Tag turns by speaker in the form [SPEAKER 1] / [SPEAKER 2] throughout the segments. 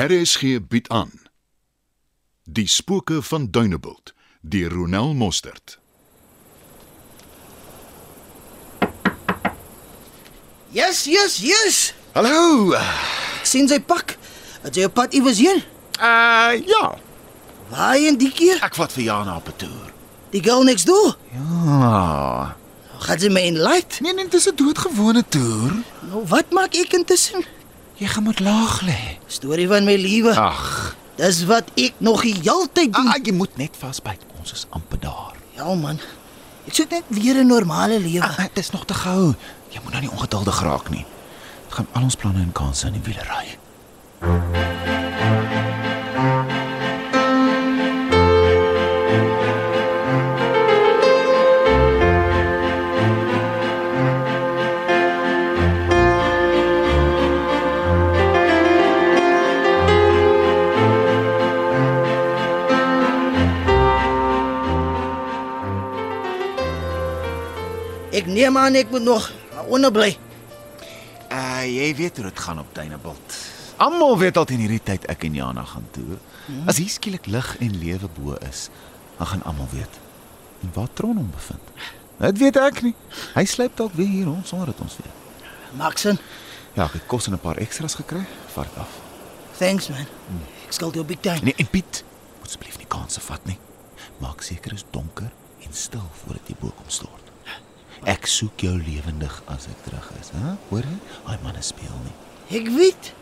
[SPEAKER 1] RSG bied aan Die spooke van Dunebuld deur Ronel Mostert.
[SPEAKER 2] Yes, yes, yes.
[SPEAKER 3] Hallo.
[SPEAKER 2] Sien sy pak? Het jy op pad iewers heen?
[SPEAKER 3] Uh ja,
[SPEAKER 2] Waarheen die keer?
[SPEAKER 3] ek vat vir Jana op 'n toer.
[SPEAKER 2] Die girl next door.
[SPEAKER 3] Ja.
[SPEAKER 2] Nou Gaan sy my enlight?
[SPEAKER 3] Nee nee, dis 'n doodgewone toer.
[SPEAKER 2] Nou wat maak ek intussen?
[SPEAKER 3] Jy gaan moet laag lê.
[SPEAKER 2] Storie van my lewe.
[SPEAKER 3] Ag.
[SPEAKER 2] Dis wat ek nog die heeltyd doen.
[SPEAKER 3] Ah, jy moet net vasbyt. Ons is amper daar.
[SPEAKER 2] Ja man. Ek soek net weer 'n normale lewe.
[SPEAKER 3] Ah, dit is nog te gou. Jy moet nou nie ongeduldig raak nie. Dit gaan al ons planne en kansse in die wiele ry.
[SPEAKER 2] Ek neem aan ek moet nog onderbly.
[SPEAKER 3] Uh jy weet hoe dit gaan op Tuinebult. Almal weet al teen hierdie tyd ek en Jana gaan toer. As hier skielik lig en lewe bo is, dan gaan almal weet. En waar Tron hom bevind. Dit weet ek nie. Hy sluip dalk weer hier rond sonder dit ons weet.
[SPEAKER 2] Maak sin.
[SPEAKER 3] Ja, ek het kos en 'n paar ekstra's gekry. Vat dit af.
[SPEAKER 2] Thanks man. Ek skuld jou big time.
[SPEAKER 3] Nee, en Piet, moet asseblief nie kanse vat nie. Maak seker is donker en stil voordat jy bo kom stort. Ek soek jou lewendig as ek terug is, hè? Hoor jy? Hy man is speel nie.
[SPEAKER 2] Ek weet.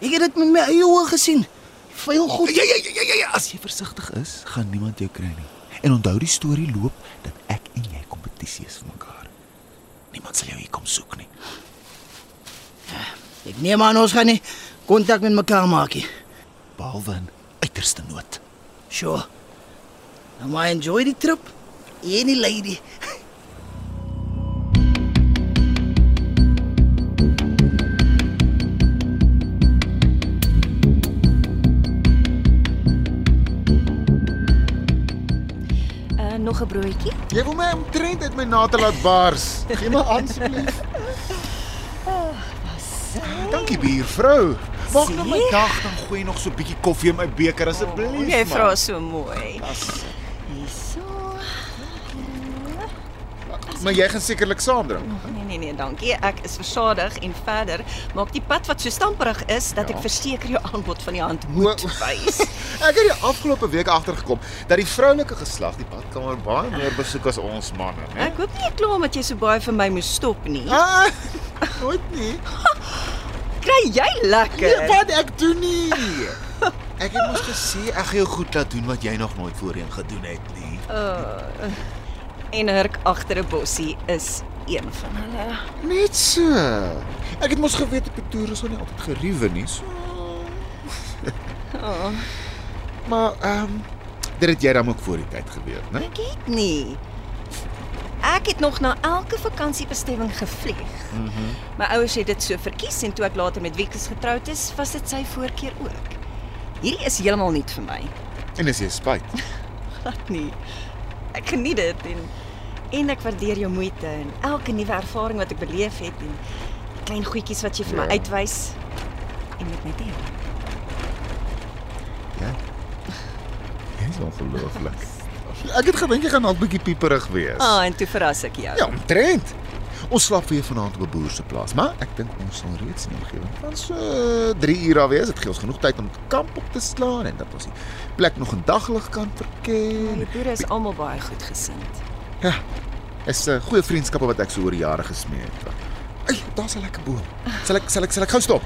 [SPEAKER 2] Ek het dit met my eie oë gesien. Veel goed.
[SPEAKER 3] Ja ja ja ja, ja ja, as jy versigtig is, gaan niemand jou kry nie. En onthou die storie loop dat ek en jy kompetisie is vir mekaar. Niemand sal jou hier kom soek nie.
[SPEAKER 2] Ek neem aan ons gaan nie kontak met mekaar maak nie.
[SPEAKER 3] Behalwe in uiterste nood.
[SPEAKER 2] Sure. Nou maar enjoy die trip. Jy en die lady.
[SPEAKER 4] Uh, nog 'n broodjie?
[SPEAKER 5] Jy wil my omtrent uit my na te laat bars. Gee my aan asseblief. Dankie buurvrou. Maak nou my
[SPEAKER 4] Sien?
[SPEAKER 5] dag dan gooi nog so 'n bietjie koffie in my beker asseblief.
[SPEAKER 4] Jy
[SPEAKER 5] man.
[SPEAKER 4] vra so mooi. Hierso.
[SPEAKER 5] Maar jy gaan sekerlik saam drink.
[SPEAKER 4] Nee nee nee, dankie. Ek is versadig en verder maak die pad wat so stamperig is dat ek verseker jou aanbod van die hand moet
[SPEAKER 5] O-
[SPEAKER 4] wys.
[SPEAKER 5] Ek het die afgelope week agtergekom dat die vroulike geslag die badkamer baie meer besoek as ons manne, né?
[SPEAKER 4] Ek hoop nie ek kla omdat jy so baie vir my moes stop nie.
[SPEAKER 5] Ah, nooit nie.
[SPEAKER 4] Kry jy
[SPEAKER 5] Nee,
[SPEAKER 4] lekker?
[SPEAKER 5] wat ek doen nie. Ek het mos gesê ek gaan jou goed laat doen wat jy nog nooit voorheen gedoen het nie.
[SPEAKER 4] Uh, en 'n hurk agter 'n bossie is een van hulle.
[SPEAKER 5] Net so. Ek het mos geweet op die toer is ons nie altyd geriewe nie. So.
[SPEAKER 4] Oh,
[SPEAKER 5] Maar ehm um, dit het jy dan ook voor die tyd geweet, né?
[SPEAKER 4] ek het nie. Ek het nog na elke vakansiebestemming gevlieg.
[SPEAKER 5] Mhm. Mm
[SPEAKER 4] My ouers het dit so verkies en toe ek later met Wikus getroud is, was dit sy voorkeur ook. Hierdie is heeltemal nie vir my.
[SPEAKER 5] en is jy spyt?
[SPEAKER 4] Glad nie. Ek geniet dit en en ek waardeer jou moeite en elke nuwe ervaring wat ek beleef het en die klein goedjies wat jy vir my
[SPEAKER 5] Ja.
[SPEAKER 4] uitwys en met my deel.
[SPEAKER 5] Jy's ongelooflik. Ek het gedink jy gaan dalk bietjie pieperig wees.
[SPEAKER 4] Ah, en toe verras ek jou.
[SPEAKER 5] Ja, omtrent. Ons slaap weer vanaand op 'n boer se plaas, maar ek dink ons sal reeds in die omgewing van so 3 uur af wees. Dit gee ons genoeg tyd om kamp op te slaan en dat ons die plek nog in daglig kan verken.
[SPEAKER 4] Die boere is almal baie goed gesind.
[SPEAKER 5] Ja. Is 'n goeie vriendskappe wat ek so oor die jare gesmee het. Ai, daar's 'n lekker boom. Sal ek sal ek sal ek gou stop?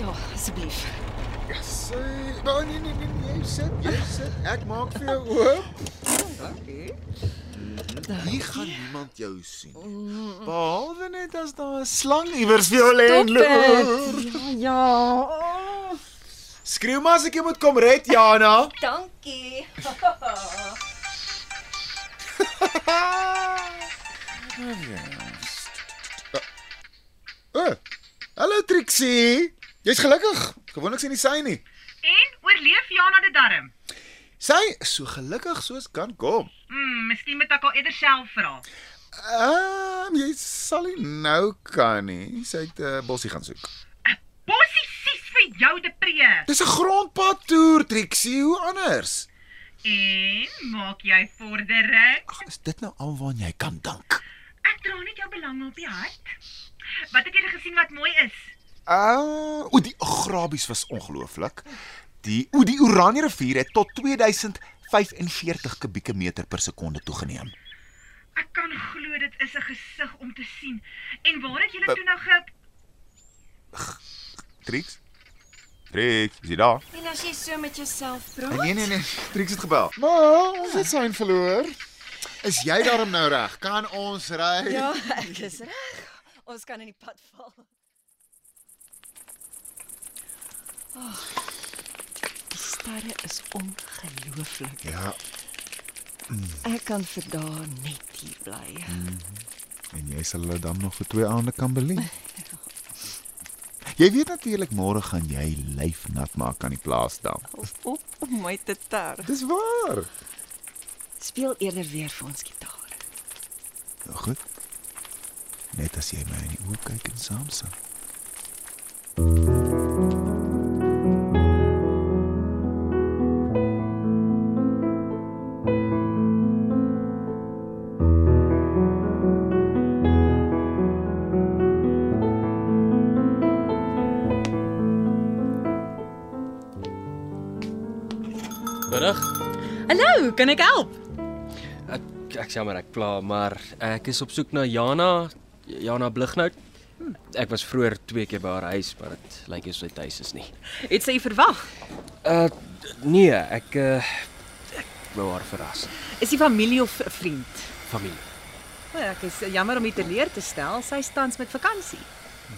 [SPEAKER 4] Ja, asseblief.
[SPEAKER 5] Ja, sê, nee nee nee nee, jy sit, jy sit. Ek maak vir jou oop. Hier gaan niemand jou sien. Behalwe net as daar 'n slang iewers vir jou lê en loer.
[SPEAKER 4] Ja.
[SPEAKER 5] Skreeu maar as ek jou moet kom red, Jana.
[SPEAKER 4] Dankie.
[SPEAKER 5] O. Oh, hallo Trixie. Jy's gelukkig. Gewoonlik sien jy sy nie.
[SPEAKER 6] En oorleef Jana dit darm?
[SPEAKER 5] Sy is so gelukkig soos kan kom.
[SPEAKER 6] Hmm, miskien moet ek haar eerder self vra.
[SPEAKER 5] Ehm um, jy sal nie nou kan nie. Sy het 'n uh, bossie gaan eh, soek.
[SPEAKER 6] Bossies vir jou te pree.
[SPEAKER 5] Dis 'n grondpad toer, Trixie, hoe anders?
[SPEAKER 6] En maak jy vordering?
[SPEAKER 5] Ag, is dit nou alwaar jy kan dink?
[SPEAKER 6] Ek dra net jou belange op die hart. Wat het jy gesien wat mooi is?
[SPEAKER 5] Ah, o die agrabies was ongelooflik. Die o die Oranje rivier het tot 2045 kubieke meter per sekonde toegeneem.
[SPEAKER 6] Ek kan glo dit is 'n gesig om te sien. En waar het julle toe nou ge
[SPEAKER 3] Trix? Trix, is jy daar?
[SPEAKER 4] En as jy so met jouself praat,
[SPEAKER 3] Nee nee nee, Trix het gebel.
[SPEAKER 5] Maar ons het syn verloor. Is jy daarom nou reg? Kan ons ry?
[SPEAKER 4] ja, ek is reg. Ons kan in die pad val. Oh, die sterre is ongelooflik.
[SPEAKER 5] ja.
[SPEAKER 4] Ek kan vir dae net hier bly.
[SPEAKER 3] En jy sal hulle dan nog vir twee aande kan belê. Jy weet natuurlik môre gaan jy lyf nat maak aan die plaasdam.
[SPEAKER 4] Hou op om my te ter.
[SPEAKER 3] Dis waar.
[SPEAKER 4] Speel eerder weer vir ons gitaar.
[SPEAKER 3] Nou goed. Net as jy my in die oë kyk en saam sing.
[SPEAKER 7] Middag.
[SPEAKER 8] Hallo, kan ek help?
[SPEAKER 7] Ek ek jammer ek pla, maar ek is op soek na Jana, Jana Blighnout. Ek was vroeër twee keer by haar huis, maar dit lyk asof sy tuis is nie.
[SPEAKER 8] Het sy verwag?
[SPEAKER 7] Uh nee, ek uh ek wou haar verras.
[SPEAKER 8] Is die familie of 'n vriend?
[SPEAKER 7] Familie.
[SPEAKER 8] O, Ek is eh, jammer om u te leer te stel, sy tans met vakansie.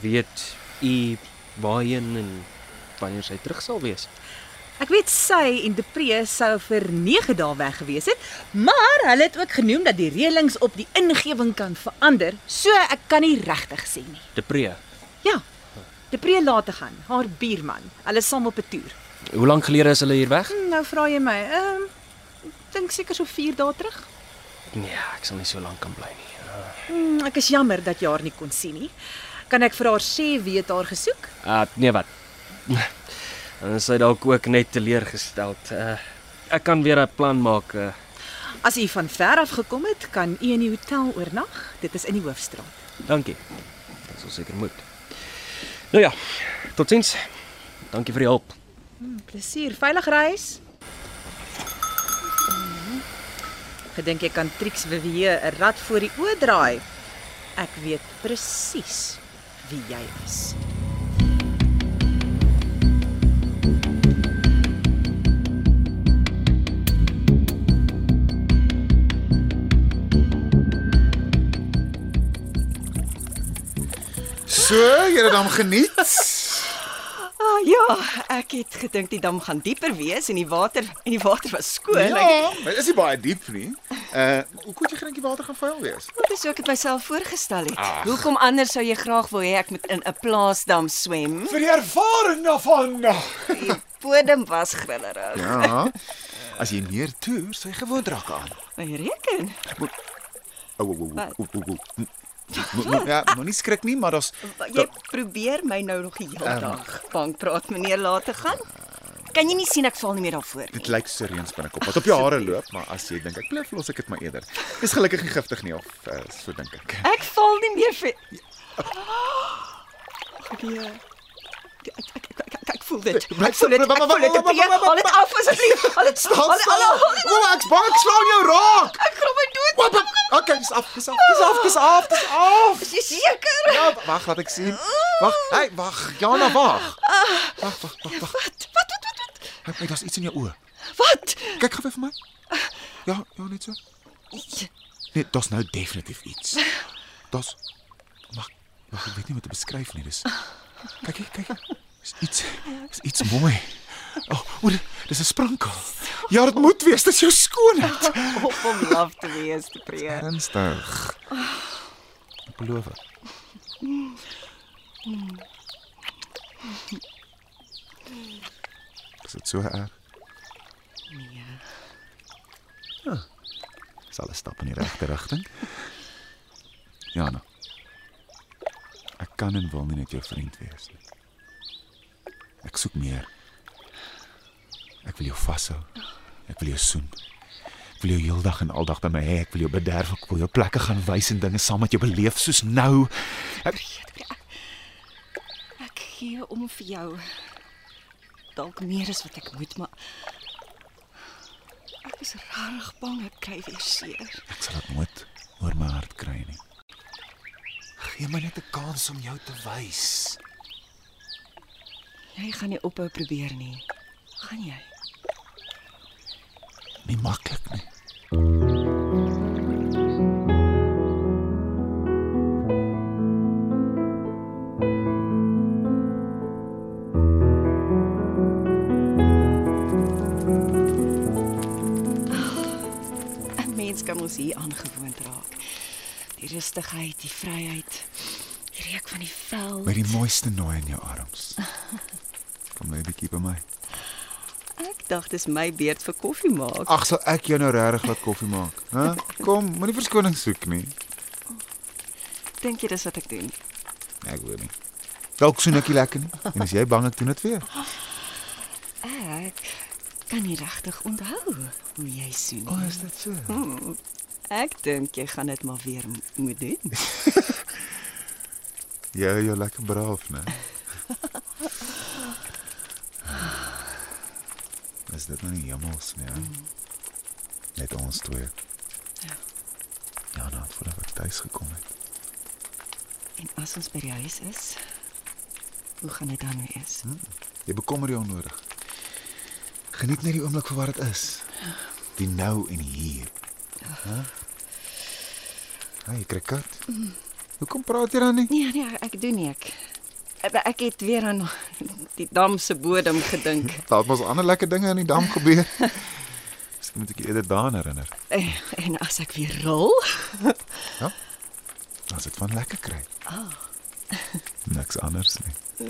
[SPEAKER 7] Weet u waarheen en wanneer sy terug sal wees?
[SPEAKER 8] Ek weet sy en Depree sou vir 9 dae weg gewees het, maar hulle het ook genoem dat die reëlings op die ingewing kan verander, so ek kan nie regtig sê nie.
[SPEAKER 7] Depree.
[SPEAKER 8] Ja. Depree laat te gaan, haar buurman. Hulle is saam op 'n toer.
[SPEAKER 7] Hoe lank gelede is hulle hier weg?
[SPEAKER 8] Nou vra jy my, ehm um, dink seker so 4 dae terug.
[SPEAKER 7] Nee, ek sal nie so lank kan bly nie.
[SPEAKER 8] Hmm, ek is jammer dat jy haar nie kon sien nie. Kan ek vir haar sê wie het haar gesoek?
[SPEAKER 7] Uh nee wat. Dan is sy dalk ook net teleurgesteld. Uh ek kan weer 'n plan maak. Uh,
[SPEAKER 8] As u van ver af gekom het, kan u in die hotel oornag. Dit is in die hoofstraat.
[SPEAKER 7] Dankie. Dit sal seker moet. Nou ja, totiens. Dankie vir die hulp.
[SPEAKER 8] Plesier, veilig reis. Gedink jy kan Trix Vivier 'n rad voor die oë draai? Ek weet presies wie jy is.
[SPEAKER 5] So, jy het dit dan geniet.
[SPEAKER 4] Ah ja, ek het gedink die dam gaan dieper wees en die water en die water was skoon. Ek
[SPEAKER 5] Ja, maar is nie baie diep nie. Uh, hoe kon jy gedink die water gaan vuil wees?
[SPEAKER 4] dit is hoe ek dit myself voorgestel het. Ach. Hoekom anders sou jy graag wou hê ek moet in 'n plaasdam swem?
[SPEAKER 5] Vir die ervaring daarvan.
[SPEAKER 4] Die bodem was grillerig.
[SPEAKER 5] Ja. As jy meer toer, sy gewoond raak aan.
[SPEAKER 4] Jy reken.
[SPEAKER 5] Ou ou ou ou ou. Ja, moenie skrik nie, maar daar's
[SPEAKER 4] Jy probeer my nou nog die hele dag bang praat meneer laat te gaan. Kan jy nie sien ek val nie meer daarvoor nie.
[SPEAKER 5] dit lyk so reëns binnekop wat op jou hare loop, maar as jy dink ek plef los ek dit maar eerder. Dis gelukkig nie giftig nie of uh, so dink ek.
[SPEAKER 4] Ek val nie meer vir Nee. Ek ek ek ek- ek voel dit.
[SPEAKER 5] Bly
[SPEAKER 4] Ek voel dit.
[SPEAKER 5] stil.
[SPEAKER 4] Ek voel dit. Tree, Haal dit af asseblief. Haal dit. Haal dit. haal dit- haal dit-
[SPEAKER 5] Kom ek's bang ek slaan jou raak.
[SPEAKER 4] Ek glo my dood.
[SPEAKER 5] Wap, wap. Okay, dis af, dis af, dis af, dis af, dis af.
[SPEAKER 4] Is jy seker?
[SPEAKER 5] Ja, wag, laat ek sien. Wag, hey, wag. Jana, wag. Wag, wag, wag, wag.
[SPEAKER 4] Wat? Wat wat wat? wat?
[SPEAKER 5] Kyk, hey, daar's iets in jou oë.
[SPEAKER 4] Wat?
[SPEAKER 5] Kyk gou vir my. Ja, ja, net so. Nee, daar's nou definitief iets. Daar's Wag, wag, ek weet nie hoe om dit te beskryf nie, dis. Kyk, hier, kyk. hier. Dis iets. Dis iets mooi. O, oh, dis 'n sprankel. Ja, dit moet wees, dis jou skoonheid.
[SPEAKER 4] Op om laf te wees te pree.
[SPEAKER 5] Ernstig. Ek beloof. Is dit so erg? Nee. Huh. Sal 'n stap in die regte rigting.
[SPEAKER 3] Jana. Ek kan en wil nie net jou vriend wees nie.
[SPEAKER 5] Ek soek meer. Ek wil jou vashou. Ek wil jou soen. Ek wil jou heeldag en aldag by my hê. Ek wil jou bederf. Ek wil jou plekke gaan wys en dinge saam met jou beleef soos nou. Ek
[SPEAKER 4] Ek gee om vir jou. Dalk meer as wat ek moet, maar ek is regtig bang ek kry weer seer.
[SPEAKER 5] Ek sal dit nooit oor my hart kry nie. Gee my net 'n kans om jou te wys.
[SPEAKER 4] Jy gaan nie ophou probeer nie. Gaan jy?
[SPEAKER 5] Nie maklik nie.
[SPEAKER 4] En mens kan mos hier aangewoond raak. Die rustigheid, die vryheid, die reuk van die
[SPEAKER 5] Met
[SPEAKER 4] veld.
[SPEAKER 5] die mooiste nooi in jou arms. Kom net 'n bietjie by my.
[SPEAKER 4] Ek dacht dis my beurt vir koffie maak.
[SPEAKER 5] Ag, sal ek jou nou regtig laat koffie maak? Hæ? Kom, moenie verskoning soek nie. Ah.
[SPEAKER 4] Dink jy dis wat ek doen?
[SPEAKER 5] Nee, Ek weet nie. Dalk soen ek nie lekker nie. En as jy bang ek doen dit weer.
[SPEAKER 4] Ek kan nie regtig onthou hoe jy soen.
[SPEAKER 5] O,
[SPEAKER 4] nie. Hmm,
[SPEAKER 5] is dit so?
[SPEAKER 4] Ek dink jy gaan dit maar weer m- moet doen.
[SPEAKER 5] Jy hou jou lekker braaf, né? Is dit nou nie jammers nie? hè? Net ons twee.
[SPEAKER 4] Ja.
[SPEAKER 5] Ja, nou voordat ek tuis gekom het.
[SPEAKER 4] En as ons by die huis is, hoe gaan dit dan wees?
[SPEAKER 5] Jy bekommer jou onnodig. Geniet net die oomblik vir wat dit is. Die nou en die hier. Hæ? Hey, krikat. Hoekom praat jy dan nie?
[SPEAKER 4] Nee, nee, ek doen nie ek. Ek het weer aan die dam se bodem gedink.
[SPEAKER 5] Daar het mos ander lekker dinge in die dam gebeur. Miskien moet ek jou eerder daaraan herinner.
[SPEAKER 4] En, en as ek weer rol,
[SPEAKER 5] As dit van lekker kry. Ah. Niks anders nie.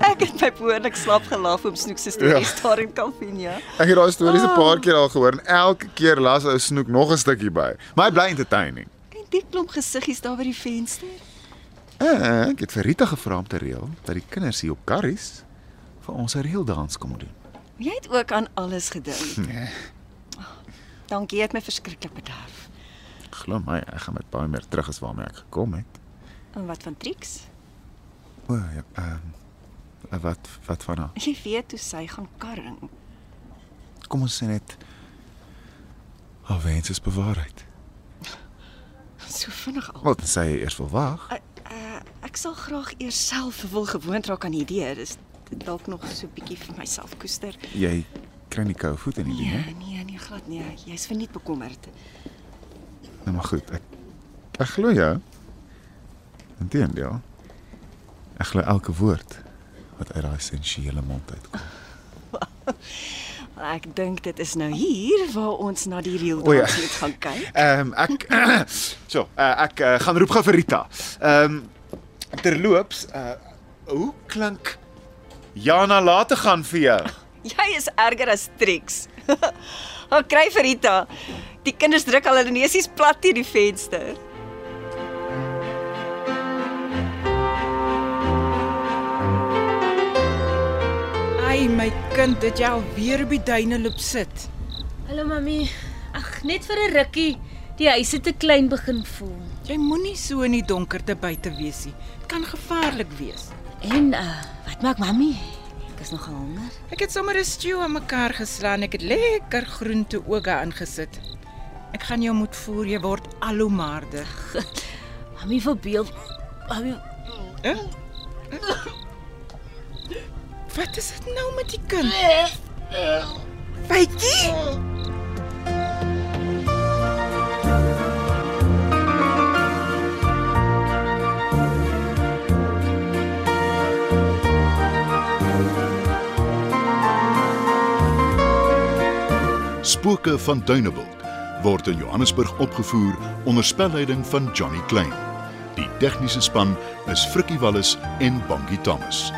[SPEAKER 4] ek het my behoorlik slap gelaaf om snoek se stories ja. daar in Kalvinia.
[SPEAKER 9] Ek het daai stories 'n paar keer al gehoor en elke keer las ou snoek nog 'n stukkie by. Maar hy bly entertaining.
[SPEAKER 4] En die klomp gesiggies daar by die venster.
[SPEAKER 5] Eh, Ek het vir Rita gevra om te reël dat die kinders hier op Karries vir ons 'n reeldans kom doen.
[SPEAKER 4] Jy het ook aan alles gedink. Nee. Oh, dankie, jy het my verskriklik bederf.
[SPEAKER 5] Glo my, ek gaan met baie meer terug as waarmee ek gekom het.
[SPEAKER 4] En wat van Trix?
[SPEAKER 5] O, ja, ehm um, wat wat van haar?
[SPEAKER 4] Jy weet hoe sy gaan karring.
[SPEAKER 5] Kom ons sê net haar wens is bewaarheid.
[SPEAKER 4] So vinnig al.
[SPEAKER 5] Wat sê jy eers wil wag?
[SPEAKER 4] Uh, ek sal graag eers self wil gewoond raak aan die idee. Dis dalk nog so 'n bietjie vir myself koester.
[SPEAKER 5] Jy kry nie koue voet in die ding, hè?
[SPEAKER 4] Nee, nee, nee, glad nee. Jy's verniet bekommerd.
[SPEAKER 5] Nou maar goed, ek ek glo jou. Inteendeel. Ek glo elke woord wat uit daai sensuele mond uitkom.
[SPEAKER 4] Ek dink dit is nou hier waar ons na die reel
[SPEAKER 5] O ja.
[SPEAKER 4] dans moet gaan kyk.
[SPEAKER 5] Ehm um, ek so, uh, ek uh, gaan roep gou vir Rita. Ehm um, terloops, uh, hoe klink Jana laat te gaan vir jou?
[SPEAKER 4] Jy is erger as Trix. Haar kry vir Rita. Die kinders druk al hulle neusies plat teen die venster.
[SPEAKER 10] Ai my kind, dit jy al weer by duine loop sit.
[SPEAKER 11] Hallo mami. Ag, net vir 'n rukkie. Die huis het te klein begin voel.
[SPEAKER 10] Jy moenie so in die donkerte buite wees nie. Dit kan gevaarlik wees.
[SPEAKER 11] En uh, wat maak mami? Ek is nogal honger.
[SPEAKER 10] Ek het sommer 'n stew aan mekaar geslaan. Ek het lekker groente ooga aangesit. Ek gaan jou moet voer, jy word al hoe maarder.
[SPEAKER 11] Mami verbeel. Mami,
[SPEAKER 10] Wat is dit nou met die kind?
[SPEAKER 11] Eh,
[SPEAKER 3] Spooke van Duneveld word in Johannesburg opgevoer onder spelleiding van Johnny Klein. Die tegniese span is Frikkie Wallis en Bongie Thomas.